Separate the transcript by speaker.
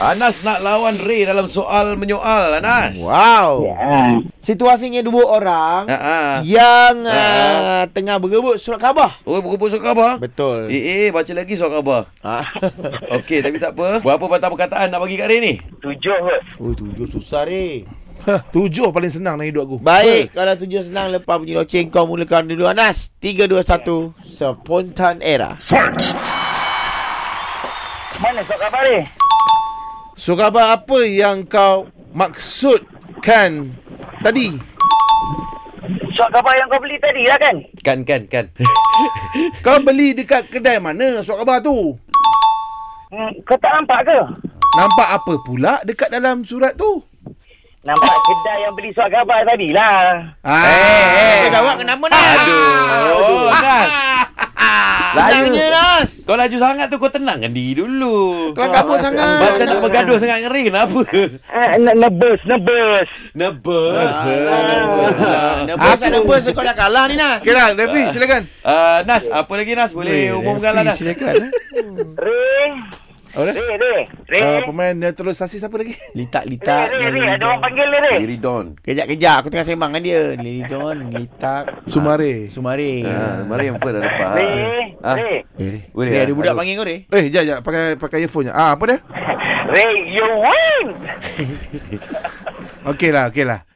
Speaker 1: Anas nak lawan Ray dalam soal menyoal Anas.
Speaker 2: Wow.
Speaker 3: Ah,
Speaker 2: Situasinya dua orang
Speaker 1: Ha ah.
Speaker 2: yang
Speaker 1: Ha.
Speaker 2: uh, tengah berebut surat khabar.
Speaker 1: Oh, buku surat khabar.
Speaker 2: Betul.
Speaker 1: Eh, eh, baca lagi surat khabar.
Speaker 2: Ha.
Speaker 1: Okey, tapi tak apa. Berapa patah perkataan nak bagi kat Ray ni?
Speaker 3: tujuh kot.
Speaker 2: Oh, tujuh susah ni.
Speaker 4: Hah, tujuh paling senang dalam hidup aku.
Speaker 2: Baik, kalau tujuh senang lepas bunyi loceng kau mulakan dulu Anas. 3 2 1 spontan era.
Speaker 3: Mana sok khabar ni?
Speaker 4: So khabar apa yang kau maksudkan tadi?
Speaker 3: Sok khabar yang kau beli tadi lah kan?
Speaker 1: Kan, kan, kan.
Speaker 4: Kau beli dekat kedai mana surat khabar tu?
Speaker 3: Hmm, kau tak nampak ke?
Speaker 4: Nampak apa pula dekat dalam surat tu?
Speaker 3: Nampak kedai yang beli sok khabar tadi lah.
Speaker 4: Ah.
Speaker 2: Kau jawab kenapa Nas?
Speaker 1: Aduh, Anas. Laju.
Speaker 2: Senangnya Nas.
Speaker 1: Kau laju sangat tu kau tenangkan diri dulu.
Speaker 2: Kau kabur sangat.
Speaker 1: Macam nak bergaduh sangat dengan Ray kenapa?
Speaker 3: Ah, ne- nebus, nebus.
Speaker 1: Nervous.
Speaker 2: Ah,
Speaker 1: Nervous. lah.
Speaker 2: Nervous ah, nervous kau dah kalah ni Nas.
Speaker 4: Okey lah, Refri silakan.
Speaker 1: Ah, Nas, apa lagi Nas? Boleh umumkan lah Nas.
Speaker 2: Silakan.
Speaker 3: Re,
Speaker 4: Oh, dah.
Speaker 3: re, re, re.
Speaker 4: Uh, pemain naturalisasi siapa lagi?
Speaker 3: Re,
Speaker 2: Litak-litak.
Speaker 3: re, re. Ada orang panggil dia, re.
Speaker 1: Liridon.
Speaker 2: Kejap-kejap aku tengah sembang dengan dia. Lidon, litak, Ah,
Speaker 4: Sumare.
Speaker 2: sumari.
Speaker 1: Ha, mari yang first dah dapat.
Speaker 3: Re,
Speaker 1: Ha.
Speaker 3: re.
Speaker 2: Eh,
Speaker 1: Boleh
Speaker 2: Re,
Speaker 1: lah.
Speaker 2: ada budak
Speaker 1: Aduh.
Speaker 2: panggil kau Re?
Speaker 4: Eh, jap jap pakai pakai earphone je. Ah, apa dia?
Speaker 3: Re, you win.
Speaker 4: Okey lah, okey lah.